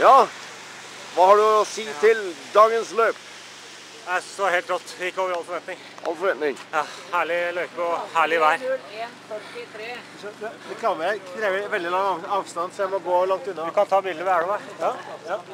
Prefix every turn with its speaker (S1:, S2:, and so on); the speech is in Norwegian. S1: Ja, hva har du å si til dagens løp?
S2: Jeg synes det var helt rått. Gikk over all forventning.
S1: All forventning.
S2: Ja, herlig løype og herlig vær.
S3: 0143.
S4: Så det- Det krever, krever veldig lang av- avstand, så jeg må gå langt unna.
S2: Du kan ta bilde ved elva.
S4: Ja, ja.